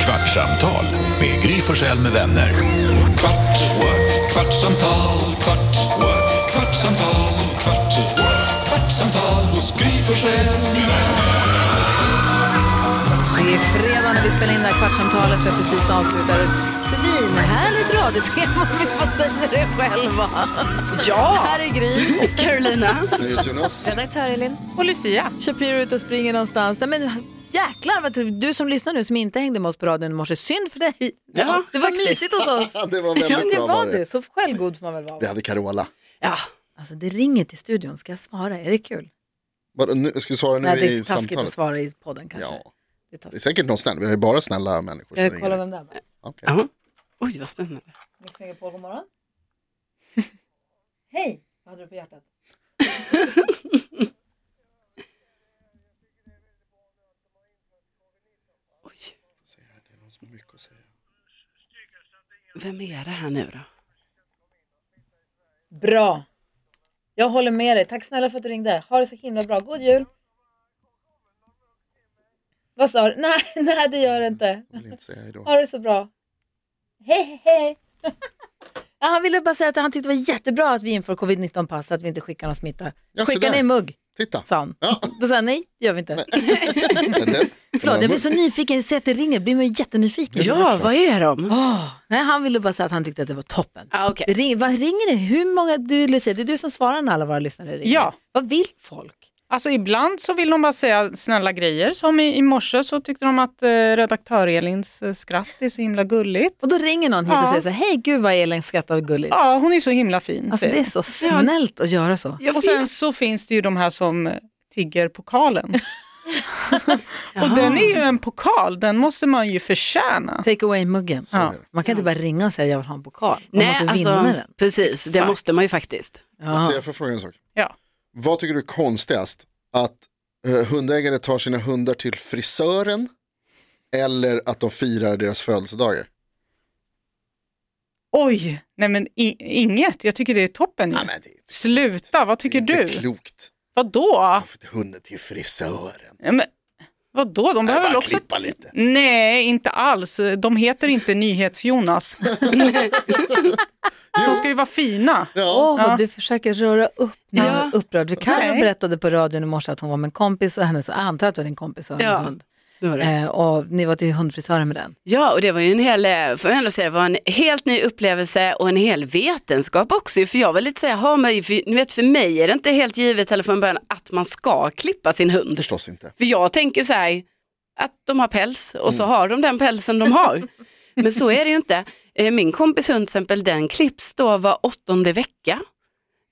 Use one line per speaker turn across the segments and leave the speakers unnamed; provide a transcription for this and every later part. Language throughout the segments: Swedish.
Kvartsamtal med Gry Forssell med vänner. Kvart, what? kvartsamtal, kvart, what? kvartsamtal, kvart, what? kvartsamtal hos Gry Forssell med vänner.
Det är fredag när vi spelar in det här kvartsamtalet. Vi har precis avslutat ett svinhärligt radioprogram om vi får säga det själva. Ja! Här är Gry. Och Carolina.
Jonas.
Redaktör Elin. Och Lucia. Shapiro är ute och springer någonstans. Nej, men jäklar, vad du som lyssnar nu som inte hängde med oss på radion i morse, synd för dig.
Ja,
det var
faktiskt.
mysigt hos oss.
Det var väldigt
ja, det
bra
var
var
det.
det.
Så självgod får man väl vara.
Vi hade Carola.
Ja. Alltså det ringer till studion, ska jag svara? Är det kul?
Vadå, nu- Ska vi svara nu
Nej, det är
i
taskigt att
samtalet?
svara i podden kanske.
Ja,
Det är
det är
taskigt.
säkert någon snäll. Vi har ju bara snälla människor. som
Jag
ringer.
kollar vem det är.
Okej.
Ja. Oj, vad spännande.
Mix Megapol, god morgon. Hej, vad hade du på hjärtat?
Oj,
Det är någon som har mycket att säga.
vem är det här nu då?
Bra. Jag håller med dig. Tack snälla för att du ringde. Ha det så himla bra. God jul. Vad sa du? Nej, nej det gör det inte.
Jag vill inte säga hej då.
Ha det så bra. Hej, hej, hej. Ja, han ville bara säga att han tyckte det var jättebra att vi inför covid-19-pass, att vi inte skickar någon smitta.
Ja, se
Skicka
där.
ner mugg,
Titta.
sa han.
Ja.
Då sa han nej, det gör vi inte.
Den, den,
Förlåt, jag blir så nyfiken. Jag ser att det ringer, blir man ju jättenyfiken.
Ja, vad är de?
Åh, nej, han ville bara säga att han tyckte att det var toppen.
Ah, okay.
Det ringer, vad ringer det? Hur många, du Lucia, det är du som svarar när alla våra lyssnare ringer.
Ja.
Vad vill folk?
Alltså ibland så vill de bara säga snälla grejer, som i, i morse så tyckte de att eh, redaktör Elins eh, skratt är så himla gulligt.
Och då ringer någon hit och
Ja.
säger så här, hej gud vad Elin skrattar och gulligt.
Ja, hon är så himla fin.
Alltså
säger
det är så snällt att göra så.
de. Och sen så finns det ju de här som eh, tigger pokalen. och den är ju en pokal, den måste man ju förtjäna.
Take away-muggen.
Ja.
Man kan inte bara ringa och säga jag vill ha en pokal. Man
Nej,
måste vinna
alltså,
den.
precis, det
Exakt.
måste man ju faktiskt.
Så jag får fråga en sak.
Ja.
Vad tycker du är konstigast? Att eh, hundägare tar sina hundar till frisören eller att de firar deras födelsedagar?
Oj, nej men i, inget, jag tycker det är toppen ju.
Nej, men det är
Sluta, vad tycker
det är inte
du?
klokt.
Vadå?
Varför inte hunden till frisören?
Ja, men, vadå, de
Jag
behöver väl
bara
också...
klippa lite.
Nej, inte alls. De heter inte Nyhets-Jonas. De ska ju vara fina.
Ja,
Åh, vad
Ja.
du försöker röra upp när hon
Ja.
är upprörd. För Carro
Nej.
berättade på radion i morse att hon var med en kompis och hennes, jag antar att det var din kompis och en
Ja.
hund.
Det var det.
Eh, och ni var till hundfrisören med den.
Ja, och det var ju en hel, eh, får jag ändå säga, det var en helt ny upplevelse och en hel vetenskap också. ju, För jag var lite så här, "Jaha, men för, ni vet för mig är det inte helt givet heller från början att man ska klippa sin hund.
förstås inte.
För jag tänker så här, att de har päls och så
Mm.
har de den pälsen de har. Men så är det ju inte. Eh, Min kompis hund till exempel, den klipps då var åttonde vecka.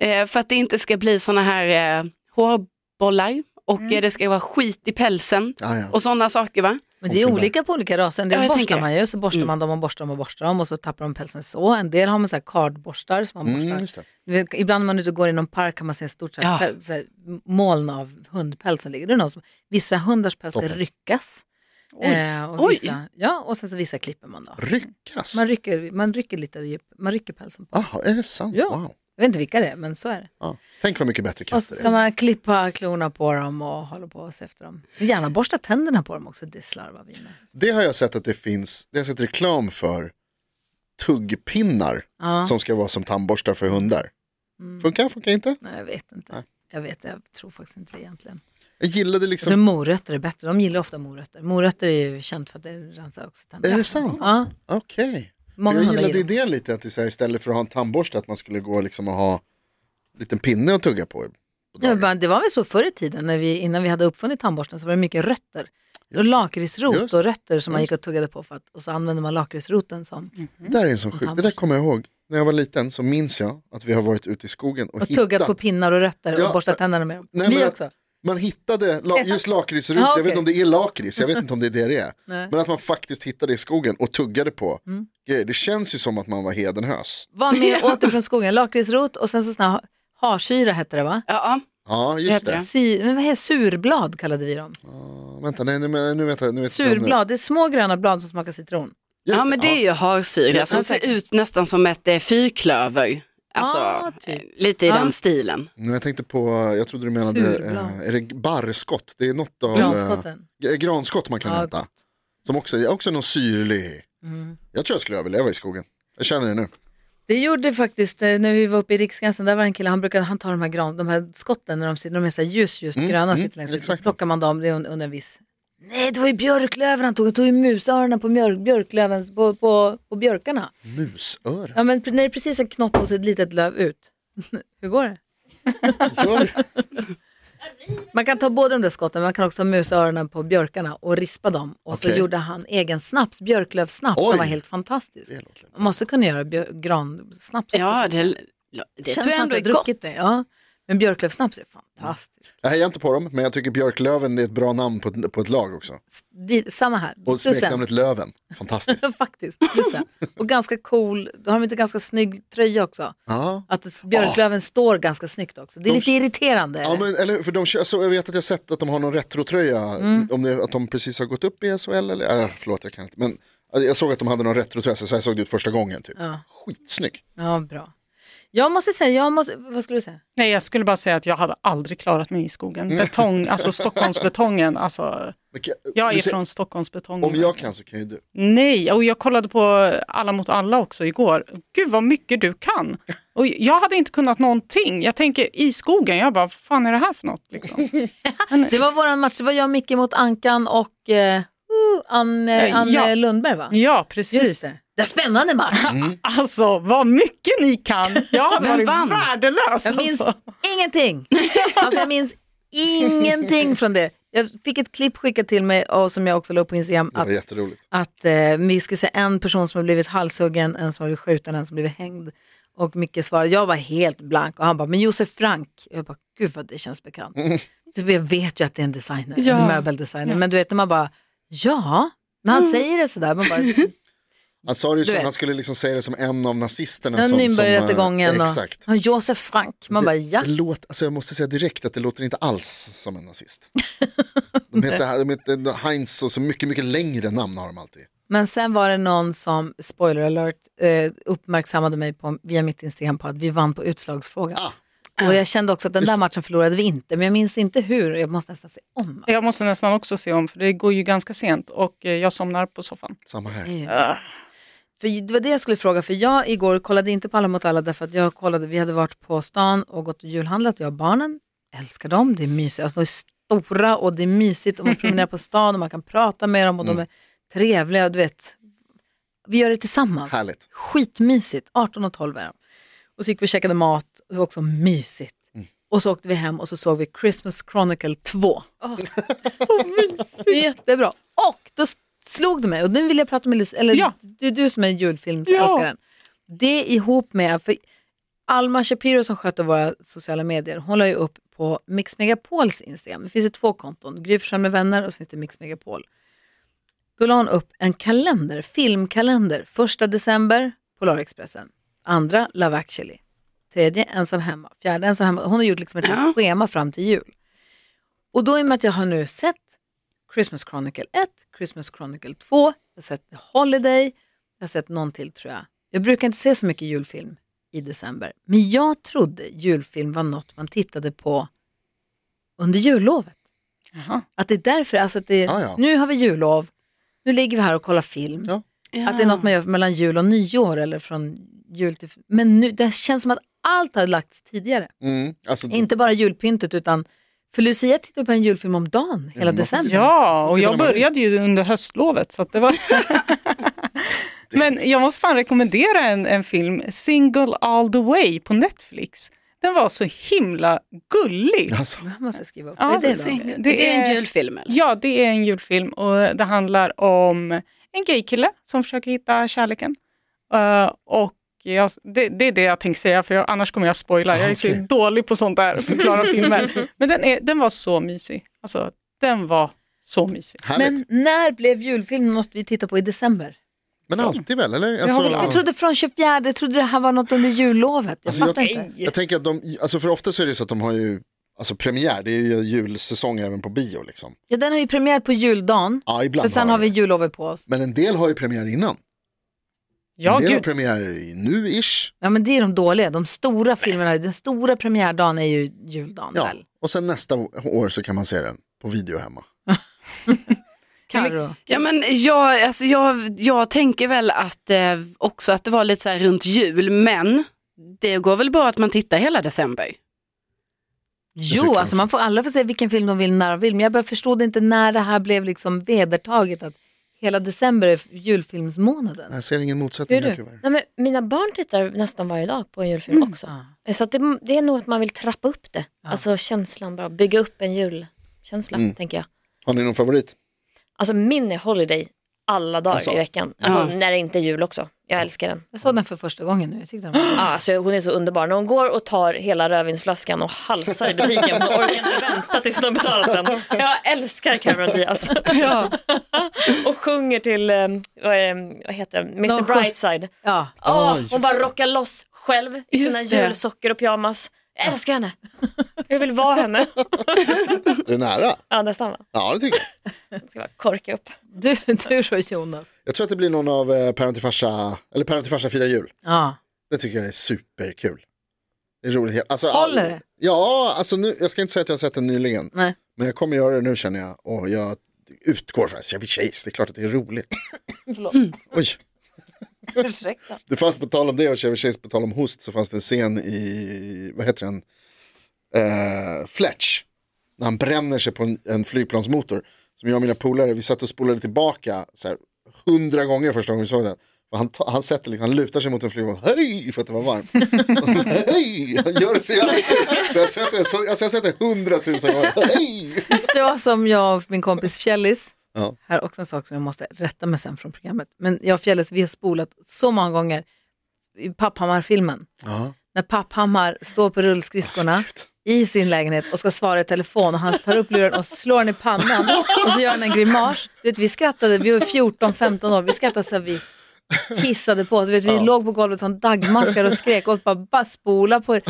Eh, För att det inte ska bli sådana här eh, hårbollar och
Mm.
eh, det ska vara skit i pälsen
Ah, ja.
och sådana saker va?
Men det är
Hon kunde-
olika på olika raser. En
Ja,
del
jag
borstar
tänker
man ju, så borstar
Mm.
man dem och borstar dem och borstar dem och så tappar de pälsen så. En del har man så här kardborstar som man
Mm,
borstar.
just det.
Du vet, Ibland när man är ute och går i någon park kan man se ett stort så här,
Ja.
päl- så här, moln av hundpäls som ligger. Det är någon som, vissa hundars päls
Toppen.
ryckas. Eh,
Oj.
och
Oj.
vissa, ja, och sen så vissa klipper man då.
Ryckas?
Man rycker, man rycker lite, djup- man rycker pälsen på.
Jaha, är det sant?
Ja.
Wow.
Jag vet inte vilka det är, men så är det.
Ja. Tänk vad mycket bättre
Och så
katter
ska
är.
man klippa klorna på dem och hålla på och se efter dem. Gärna borsta tänderna på dem också, det slarvar vi med.
Det har jag sett att det finns, det har jag sett reklam för tuggpinnar
Ja. Mm.
som ska vara som tandborstar för hundar. Funkar, funkar inte?
Nej, jag vet inte.
Nej.
Jag vet, jag tror faktiskt inte det egentligen.
Jag gillade
Jag tror
liksom,
morötter är bättre, de gillar ofta morötter. Morötter är ju känt för att det rensar också tänderna.
är det sant?
Ja,
Okej. För
många
Jag
hundar
gillade
gillar
idén lite att det är så här, istället för att ha en tandborste att man skulle gå liksom och ha en liten pinne att tugga på. på
Ja,
dagen.
men det var väl så förr i tiden, när vi, innan vi hade uppfunnit tandborsten, så var det mycket rötter. Och
det.
lakritsrot
Just
och rötter som man
Just Mm.
gick och tuggade på för att, och så använde man lakritsroten som
Det där är en sån sjuk, det där kommer jag ihåg. När jag var liten så minns jag att vi har varit ute i skogen och,
och tugga
hittat,
på pinnar och rötter
Ja,
och borsta
men-
tänderna med dem.
Nej,
vi
men-
också.
man hittade la, just lakritsrutor,
Ja,
jag vet
okej.
inte om det är lakrits, jag vet inte om det är det det är.
Nej.
Men att man faktiskt hittade i skogen och tuggade på
Mm.
grejer. Det känns ju som att man var hedenhös.
Vad mer åter från skogen? Lakritsrot och sen så sån här harsyra hette det va?
Ja,
Ja, just
Det
det.
heter
Sy, men vad heter, surblad kallade vi dem.
Ja, vänta, nej, nej, men nu vet jag. Nu vet jag nu.
Surblad, det är små gröna blad som smakar citron.
Just
ja men det är ju harsyra som ser ut nästan som ett eh, fyrklöver. Alltså,
Ah, typ.
eh, lite i
Ja.
den stilen.
Nej, Jag tänkte på, jag trodde du menade,
Surblad.
eh, är det barrskott? Det är något av eh,
Granskotten.
gr- granskott man kan
Ja, Mm.
äta. Som också, jag är också någon syrlig. Jag tror jag skulle överleva i skogen. Jag känner det nu.
Det gjorde faktiskt, eh, när vi var uppe i Riksgränsen, där var en kille, han brukade, han tar de här, gran, de här skotten när de, sitter, de är så här ljus, ljus gröna, sitter längst ut, så
Mm, exakt.
plockar man dem, det är un- under en viss... Nej, det var ju björklöven han tog, han tog ju musöronen på mjörk, björklövens, på, på, på björkarna.
Musöra.
Ja, men pre- när det är precis en knopp och så ett litet löv ut. Hur går det?
Gör-
Man kan ta båda de där skotten, men man kan också ta musöronen på björkarna och rispa dem. Och så
Okej.
gjorde han egen snaps, björklövsnaps,
Oj.
som var helt fantastisk.
Det låter-
Man måste kunna göra björ- gransnaps också.
Ja, det, det
Känns
tror jag
som att
ändå är
har
gott.
druckit Det, ja. Men björklövsnaps är fantastiskt.
Jag hejar inte på dem, men jag tycker Björklöven är ett bra namn på ett, på ett lag också.
Di- Samma här.
Och
Plussen.
smeknamnet Löven, fantastiskt.
Faktiskt, plussen. Och ganska cool, då har de inte ganska snygg tröja också.
Ja.
Att s- björklöven står ganska snyggt också. Det är lite irriterande.
Ah. Ja, men, eller, hur? för de, kör- så jag vet att jag sett att de har någon retrotröja, om det, att de precis har gått upp i SHL eller, äh, förlåt jag kan inte, men äh, jag såg att de hade någon retrotröja, så här såg det ut första gången typ. Skitsnygg.
ja, bra. Jag måste säga, jag måste, vad skulle du säga?
Nej, jag skulle bara säga att jag hade aldrig klarat mig i skogen.
Mm.
Betong, alltså Stockholmsbetongen, alltså.
Men kan-
Jag
du
är
ser,
från Stockholmsbetongen.
Om jag kan så kan ju du.
Nej, och jag kollade på Alla mot alla också igår. Gud vad mycket du kan. Och jag hade inte kunnat någonting. Jag tänker i skogen, jag bara, vad fan är det här för något? Liksom.
Det var våran match, det var jag och Micke mot Ankan och eh, uh, Anne,
Eh,
Anne
ja.
Lundberg va?
Ja, precis.
Just det. Det är spännande match.
Alltså vad mycket ni kan. Jag hade
Vem
varit
vann?
värdelös.
Jag minns
Alltså.
ingenting. Alltså jag minns ingenting från det. Jag fick ett klipp skickat till mig och som jag också la upp på Instagram
Det
att,
var jätteroligt.
att eh, vi skulle se en person som har blivit halshuggen, en som har blivit skjuten, en som blivit hängd. Och Micke svarade, jag var helt blank och han bara, men Josef Frank. Jag bara, gud vad det känns bekant. Typ, jag vet ju att det är en designer, en
Ja.
möbeldesigner. Men du vet när man bara, ja, när han säger det sådär, man bara,
Han sa det ju
Du
så,
vet.
han skulle liksom säga det som en av nazisterna.
Ja,
som, som, äh,
Nürnbergrättegången
Exakt.
och, och Josef Frank. Man bara, ja.
Det låter, alltså jag måste säga direkt att det låter inte alls som en nazist. De heter, de heter Heinz och så mycket, mycket längre namn har de alltid.
Men sen var det någon som, spoiler alert, eh, uppmärksammade mig på, via mitt Instagram på att vi vann på utslagsfrågan. Och jag kände också att den där matchen förlorade vi inte, men jag minns inte hur. Jag måste nästan se om. matchen.
Jag måste nästan också se om, för det går ju ganska sent och eh, jag somnar på soffan.
Samma här.
Mm. Eh, För det var det jag skulle fråga, för jag igår kollade inte på Alla mot alla därför att jag kollade, vi hade varit på stan och gått och julhandlat, jag och barnen älskar dem, det är mysigt, alltså de är stora och det är mysigt och man promenerar på stan och man kan prata med dem och de är trevliga och du vet, vi gör det tillsammans.
Härligt.
Skitmysigt, 18 och 12 är de. Och så gick vi och käkade mat, det var också mysigt. Och så åkte vi hem och så såg vi Christmas Chronicle 2. Jättebra. Och då slog det mig, och nu vill jag prata med Lisa, eller
Ja.
det är du som är julfilmsälskaren. Det ihop med, för Alma Shapiro som sköter våra sociala medier, hon la ju upp på Mix Megapols Instagram. Det finns ju två konton, Gry Forssell med vänner och så finns det Mix Megapol. Då la hon upp en kalender, filmkalender. Första december, Polarexpressen. Andra, Love actually. Tredje, Ensam hemma. Fjärde, Ensam hemma. Hon har gjort liksom ett
Ja.
helt schema fram till jul. Och då i och med att jag har nu sett Christmas Chronicle 1, Christmas Chronicle 2, jag har sett The Holiday, jag har sett någon till tror jag. Jag brukar inte se så mycket julfilm i december, men jag trodde julfilm var något man tittade på under jullovet.
Jaha.
Att det är därför, alltså att det,
Ja, ja.
nu har vi jullov, nu ligger vi här och kollar film.
Ja.
Att det är något man gör mellan jul och nyår eller från jul till... Men nu, det känns som att allt har lagts tidigare.
Mm. Alltså,
Inte bara julpyntet utan, för Lucia tittar på en julfilm om dagen hela
men-
december.
Ja, och
Tittar
jag
man-
började ju under höstlovet. Så att det var... Men jag måste fan rekommendera en, en film, Single All The Way på Netflix. Den var så himla gullig.
Alltså,
Jag måste skriva upp.
Ja,
Vad är det då?
sing-
Det,
Det
är
är-
en julfilm eller?
Ja, det är en julfilm och det handlar om en gaykille som försöker hitta kärleken. Eh, och jag, det, det är det jag tänkte säga, för jag, annars kommer jag spoila. Jag är så
Okej.
dålig på sånt där, förklara filmer. Men den, är, den var så mysig. Alltså, den var så mysig.
härligt. Men,
Men när blev julfilm något vi tittar på i december?
alltid väl, eller? Alltså,
har väl
Jag trodde från 24, jag trodde det här var något under jullovet. Jag
Alltså,
fattar
jag-
inte.
jag tänker att de, alltså för ofta så är det så att de har ju, alltså premiär, det är ju julsäsong även på bio liksom.
Ja, den har ju premiär på juldagen,
Ja,
för
ibland
sen har vi
det.
jullovet på oss.
Men en del har ju premiär innan.
Ja,
en del har
gud.
premiär i nu-ish.
Ja, men det är de dåliga, de stora filmerna, den stora premiärdagen är ju juldagen
Ja.
väl?
Och sen nästa år så kan man se den på video hemma.
Karo.
Ja, men jag, alltså, jag, jag tänker väl att eh, också att det var lite så här runt jul, men det går väl bra att man tittar hela december.
Jo, alltså man får, alla får se vilken film de vill när de vill. Men jag bara förstod inte när det här blev liksom vedertaget att hela december är julfilmsmånaden.
Jag ser ingen motsättning
Gör du?
här tyvärr.
Nej, men mina barn tittar nästan varje dag på en julfilm också. Så att det, det är nog att man vill trappa upp det. Alltså känslan, bara bygga upp en julkänsla tänker jag.
Har ni någon favorit?
Alltså min är Holiday alla dagar
Alltså.
i veckan. Alltså
Ja.
när det inte är jul också. Jag älskar den.
Jag såg den för första gången nu. Jag tyckte den var
Ja, Alltså, hon är så underbar. När hon går och tar hela rödvinsflaskan och halsar i butiken. Hon orkar inte vänta tills hon har betalat den. Jag älskar Cameron Diaz. och sjunger till, eh, vad, är det, vad heter det, Mr
Någon sjö-
Brightside.
ja.
Ja,
just
hon bara rockar loss själv i
Just
sina
det.
julsockor och pyjamas. Jag älskar henne. Jag vill vara henne.
Du är nära.
Ja, nästan va?
Ja, det tycker jag.
Jag ska bara korka upp.
Du, du då Jonas?
Jag tror att det blir någon av eh, Päron till farsa, eller Päron till farsa firar jul.
Ja.
Det tycker jag är superkul. Det är roligt. Alltså,
Håller
all-
det?
Ja, alltså nu, jag ska inte säga att jag har sett den nyligen.
Nej.
Men jag kommer göra det nu känner jag. Och jag utgår från att jag blir tjejs, det är klart att det är roligt.
Förlåt.
Oj,
Ursäkta.
det fanns på tal om det och Chevy Chase på tal om host så fanns det en scen i, vad heter den, eh, Fletch. När han bränner sig på en, en flygplansmotor. Som jag och mina polare, vi satt och spolade tillbaka så här, hundra gånger första gången vi såg den. Och han, ta- han, sätter, liksom- han lutar sig mot en flygplan, hej, för att det var varmt. Och så, så här, hej, han gör det så jävla kul. Jag har sett det så- alltså, jag har sett det hundratusen gånger, hej.
Det var som jag och min kompis Fjällis.
Ja.
Här är också en sak som jag måste rätta mig sen från programmet. Men jag och Fjällis, vi har spolat så många gånger i Papphammar-filmen.
Ja.
När Papphammar står på rullskridskorna i sin lägenhet och ska svara i telefon och han tar upp luren och slår den i pannan och så gör han en grimas. Du vet, vi skrattade, vi var 14-15 år, vi skrattade så här, vi kissade på oss. Du vet, vi låg på golvet som dagmaskar och skrek och bara, bara spola, på,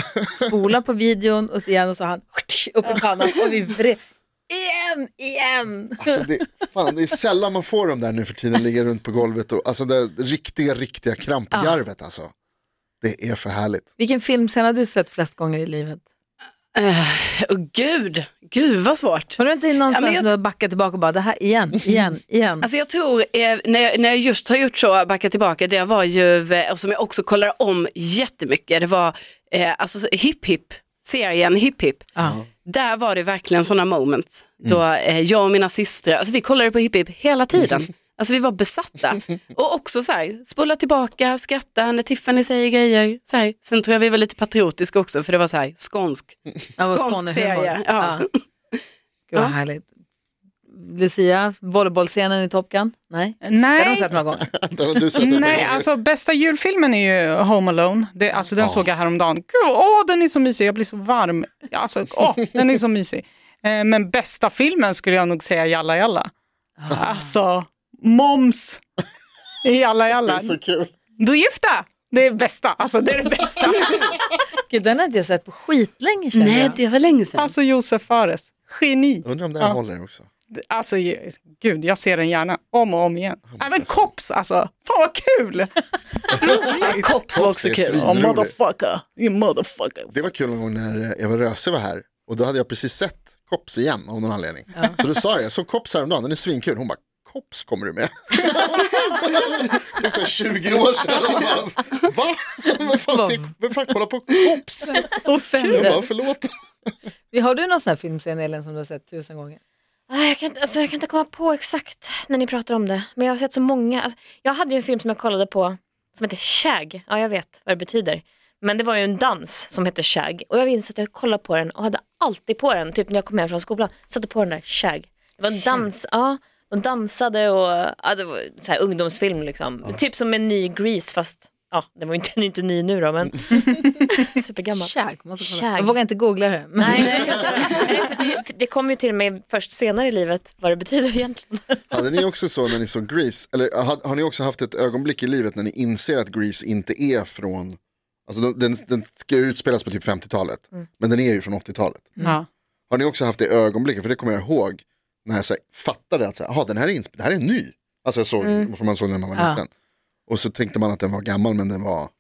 spola på videon och så igen och så han upp i pannan och vi vred. Igen, igen!
Alltså det, fan, det är sällan man får dem där nu för tiden, ligga runt på golvet och alltså det riktiga, riktiga krampgarvet alltså. Det är för härligt.
Vilken filmscen har du sett flest gånger i livet?
Och gud, gud vad svårt.
Har du inte någonstans
men jag-
ja, backat tillbaka och bara det här igen, igen, igen?
Alltså jag tror, eh, när, jag, när jag just har gjort så, backa tillbaka, det var ju, eh, och som jag också kollar om jättemycket, det var eh, alltså Hip Hip, serien Hip Hip.
Ja.
Där var det verkligen sådana moments då eh, jag och mina systrar, alltså vi kollade på Hip Hip hela tiden. Alltså vi var besatta. Och också så här, spola tillbaka, skratta när Tiffany säger grejer. Så här. Sen tror jag vi var lite patriotiska också för det var så här, skånsk.
Ja, vad
Skånsk
Skånehumor.
serie, ja.
Gud vad
Ja.
härligt. Lucia, volleybollscenen i Top Gun? Nej, det har de
Nej,
sett någon gång.
Den har du sett ett par
nej
gånger.
alltså bästa julfilmen är ju Home Alone. Det, alltså, den såg jag häromdagen. Gud, åh, den är så mysig, jag blir så varm. Alltså, åh, den är så mysig. Eh, men bästa filmen skulle jag nog säga Jalla Jalla.
Ah.
Alltså, moms i Jalla
Det
Jalla.
är så kul.
Du är gifta! Det är bästa, alltså det är det bästa.
Gud, den har inte jag sett på skitlänge känner
Nej,
jag.
det var länge sedan.
Alltså Josef Fares, geni.
Undrar om den
Ja.
håller också.
Alltså ju- gud, jag ser den gärna om och om igen. Även Kops alltså, fan vad kul!
Kops var också
är
kul.
svinrolig.
motherfucker, you motherfucker.
Det var kul en gång när eh, Eva Röse var här och då hade jag precis sett Kops igen av någon anledning. Så då sa jag, jag såg Kops häromdagen, den är svinkul. Hon bara, Kops kommer du med? det är så här 20 år sedan. Jag bara, Va? Vem fan, ser, vem fan kollar på Kops?
Alltså,
Så
Jag bara,
fint.
förlåt.
Har du någon sån här filmscen Elin som du har sett tusen gånger?
Ah, Jag kan, inte- alltså, jag kan inte komma på exakt när ni pratar om det. Men jag har sett så många. Alltså, jag hade ju en film som jag kollade på som heter Shag. Ja, jag vet vad det betyder. Men det var ju en dans som hette Shag. Och jag minns att jag kollade på den och hade alltid på den. Typ när jag kom hem från skolan. Satte på den där Shag. Det var en dans, ja. De dansade och ja, det var så här ungdomsfilm liksom. Typ som en ny Grease fast ja, den var ju inte, den är inte ny nu då men supergammal.
Käk, måste kolla.
Käk.
Jag vågar inte googla det. Men
Nej, jag ska inte- nej för det, för det kom ju till mig först senare i livet vad det betyder egentligen.
Hade ni också så när ni såg Grease, eller har, har ni också haft ett ögonblick i livet när ni inser att Grease inte är från, alltså den, den, den ska ju utspelas på typ 50-talet, men den är ju från 80-talet.
Ja.
Har ni också haft det ögonblicket, för det kommer jag ihåg, när jag så här, fattade att så här, aha, den här är insp- det här är ny. Alltså jag såg, för man såg den när man var
Ja.
liten. Och så tänkte man att den var gammal men den var, Ah,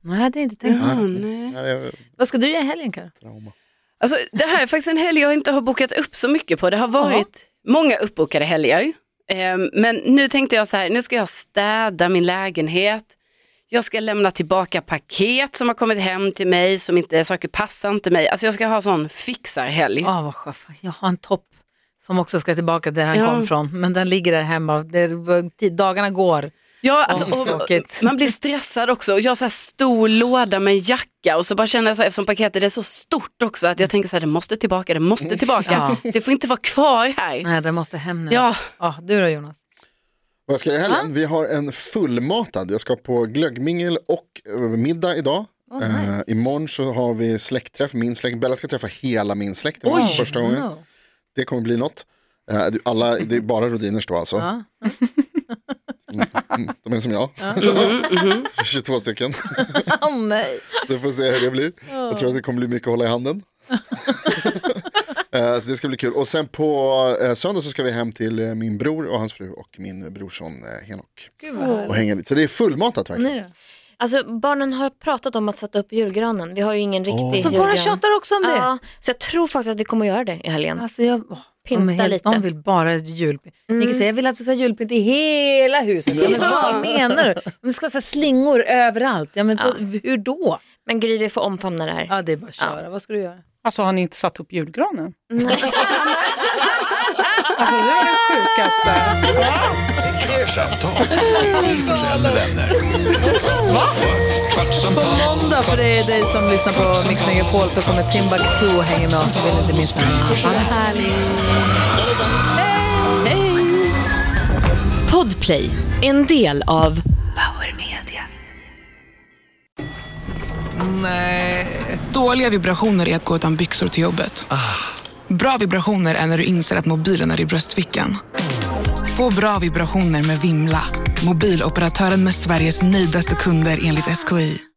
Nej, det hade jag inte tänkt på.
Åh, nej.
här är
Vad ska du göra i helgen Karo?
trauma.
Alltså, det här är faktiskt en helg jag inte har bokat upp så mycket på. Det har varit många uppbokade helger. Ehm, Men nu tänkte jag så här, nu ska jag städa min lägenhet. Jag ska lämna tillbaka paket som har kommit hem till mig, som inte, saker passar inte mig. Alltså jag ska ha sån fixarhelg.
Ja, vad skönt. Fan, Jag har en topp som också ska tillbaka där han
Ja.
kom från. Men den ligger där hemma. Det, dagarna går.
Ja, alltså,
Åh,
och,
tråkigt.
man blir stressad också. Och Jag har så här stor låda med en jacka och så bara känner jag så här, eftersom paketet är så stort också att jag tänker så här, det måste tillbaka, det måste tillbaka.
Ja.
Det får inte vara kvar här.
Nej, den måste hem nu.
Ja,
Ja, du då Jonas?
Vad ska jag göra i helgen? Vi har en fullmatad. Jag ska på glöggmingel och eh, middag idag. Eh, imorgon så har vi släktträff, min släkt. Bella ska träffa hela min släkt Det var första gången.
No.
Det kommer bli något. Eh, det- alla, det är bara rodiners då alltså.
Ja.
Mm, de är som jag. 22 stycken.
Åh, nej.
Så vi får se hur det blir. Jag tror att det kommer bli mycket att hålla i handen. Eh, så det ska bli kul. Och sen på eh, söndag så ska vi hem till eh, min bror och hans fru och min brorson eh, Henok.
Gud vad härligt.
Och hänga lite. Så det är fullmatat verkligen.
Ni då?
Alltså barnen har pratat om att sätta upp julgranen. Vi har ju ingen riktig
Så
julgran.
våra tjatar också om det.
Ja, så jag tror faktiskt att vi kommer göra det i helgen.
Alltså jag, åh, de,
Pynta
är helt,
lite.
de vill bara julpynt. Ni kan säga jag vill att vi ska ha julpynt i hela huset. Mm. Ja, men vad menar du? Om det ska vara så här slingor överallt, ja, men då, hur då?
Men Gry, vi får omfamna det här.
Ja, det är bara att köra. Vad ska du göra?
Alltså har ni inte satt upp julgranen? alltså det är det sjukaste.
Kvartsamtal med Gry Forssell med vänner. Kvartsamtal.
Måndag för det är dig som lyssnar på Mix Megapol så kommer Timbuktu och hänger med oss. Du vill inte missa det. Ha det härligt.
Podplay, en del av
Dåliga vibrationer är att gå utan byxor till jobbet. Bra vibrationer är när du inser att mobilen är i bröstfickan. Få bra vibrationer med Vimla. Mobiloperatören med Sveriges nöjdaste kunder enligt SKI.